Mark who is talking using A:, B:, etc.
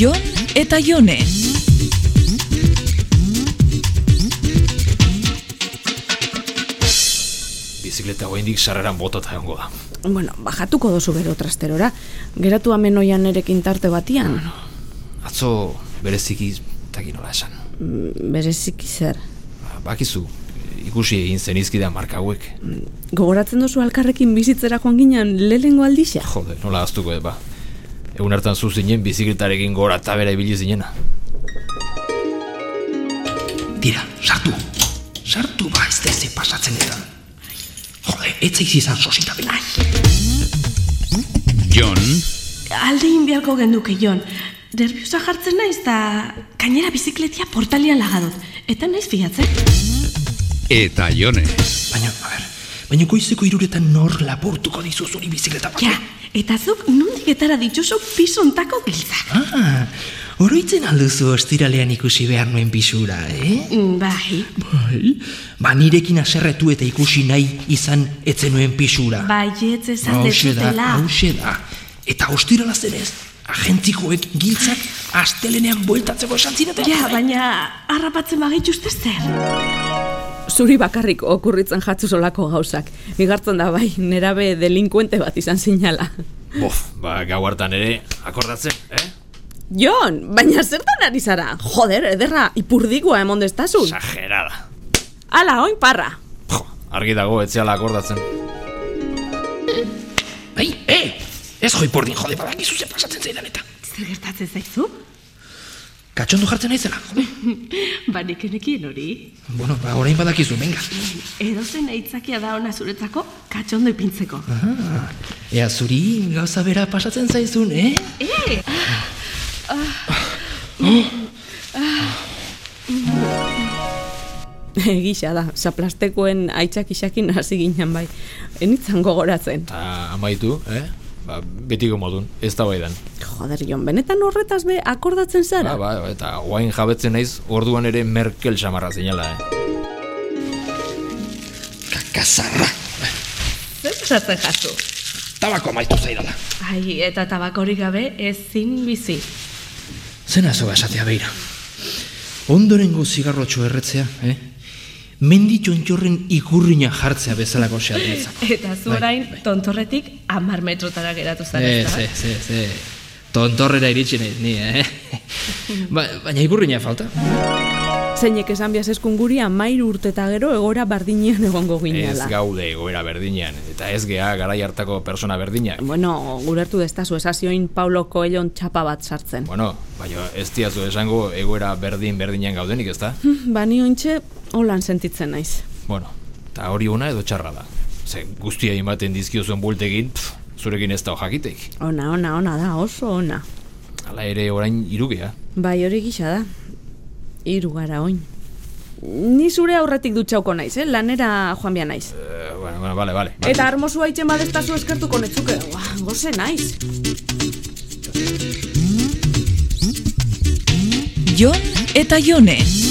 A: Jon eta Jone.
B: Bizikleta oraindik sarreran botata egongo da.
C: Bueno, bajatuko dozu bero trasterora. Geratu hemen oian erekin tarte batian.
B: Atzo bereziki taki nola esan.
C: Mm, Bereziki zer.
B: Ba, Bakizu, ikusi egin zenizkidean marka hauek.
C: Gogoratzen duzu alkarrekin bizitzera joan ginen lehengo aldixa?
B: Jode, nola aztuko eba. Egun hartan zu zinen bizikletarekin gora eta bera ibili zinena.
D: Tira, sartu. Sartu ba ez da ze pasatzen eta. Jode, etzaiz izan sositapena.
E: Jon,
F: Alde egin beharko genduke, Jon. Nerviosa jartzen naiz da gainera bizikletia portalian lagadot. Eta naiz fiatzen.
E: eta Jone.
D: Baina, a ber, baina goizeko iruretan nor lapurtuko dizu zuri bizikleta bat.
F: Ja, eta zuk nondik etara dituzu pisontako giltzak.
D: Ah, oroitzen alduzu ostiralean ikusi behar nuen pisura, eh?
F: Mm, Bai,
D: Bai, ba nirekin aserretu eta ikusi nahi izan etzenuen pisura.
F: baietz ezaz
D: Ba, Hauxe da,
F: Ba, bai, dezutela.
D: hauxe da. Eta ostirala zenez, agentzikoek giltzak astelenean bueltatzeko esan zineten. Bai,
F: Ja, baina harrapatzen bagituzte zer.
C: Zuri bakarrik okurritzen jatzu solako gauzak. Igartzen da bai, nerabe delinkuente bat izan sinala.
B: Bof, ba, gau hartan ere, akordatzen, eh?
C: Jon, baina zertan ari zara? Joder, ederra, ipurdikoa emon destazun.
B: Exagerada.
C: Ala, oin parra.
B: Jo, argi dago etziala akordatzen.
D: Bai, eh! Ez joi pordin, jode, badakizu ze pasatzen zaidan eta.
F: Zer gertatzen zaizu?
D: Katxondo jartzen naizela, jode.
F: Ba, nekenekien hori.
D: Bueno, ba, orain badakizu, venga.
F: Edo zen aitzakia da ona zuretzako katxondo ipintzeko.
D: Ah, ea zuri gauza bera pasatzen zaizun, eh?
F: Eh!
C: Egisa da, zaplastekoen aitzak isakin hasi ginen bai. Enitzan gogoratzen.
B: Ta amaitu, eh? Ba, betiko modun, ez da baidan.
C: Joder, Jon, benetan horretaz be akordatzen zara?
B: Ba, ba, eta guain jabetzen naiz, orduan ere Merkel samarra zinela, eh?
D: Kakazarra,
F: Zer pasatzen jazu?
D: tabako amaitu zaidala.
F: Ai, eta tabakorik gabe ezin bizi.
D: Zena zoa esatea beira. Ondorengo zigarrotxo erretzea, eh? Menditxo entxorren ikurrina jartzea bezalako xeatzen
F: Eta zu
D: Bai,
F: orain
D: bai.
F: tontorretik amar metrotara geratu zara,
D: Ez,
F: ezta?
D: ez, ez, ez. Tontorrera iritsi naiz ni, eh? ba, baina ikurrina falta.
C: Zeinek esan biazeskun guri amairu urte eta gero egora bardinean egongo
B: Ez
C: ginala.
B: gaude egoera berdinean, eta ez gea garai hartako persona berdinak.
C: Bueno, gurertu destazu esazioin Paulo Coelhon txapa bat sartzen.
B: Bueno, baina ez diazu esango egoera berdin berdinean gaudenik, ezta?
C: Hm, Ba, ni ointxe holan sentitzen naiz.
B: Bueno, eta hori ona edo txarra da. Ze guztia ematen dizkiozuen bultegin, pf, zurekin ez da jakiteik.
C: Ona, ona, ona da, oso ona.
B: Hala ere orain irugea.
C: Bai, hori gisa da. Hiru gara oin. Ni zure aurretik dutxauko naiz, eh? lanera joan bia naiz.
B: Eh, bueno, bueno, vale, vale.
D: bai.
C: Eta armosu haitzen badestazu eskertuko netzuke. Ua, goze naiz.
A: Jon eta Jone.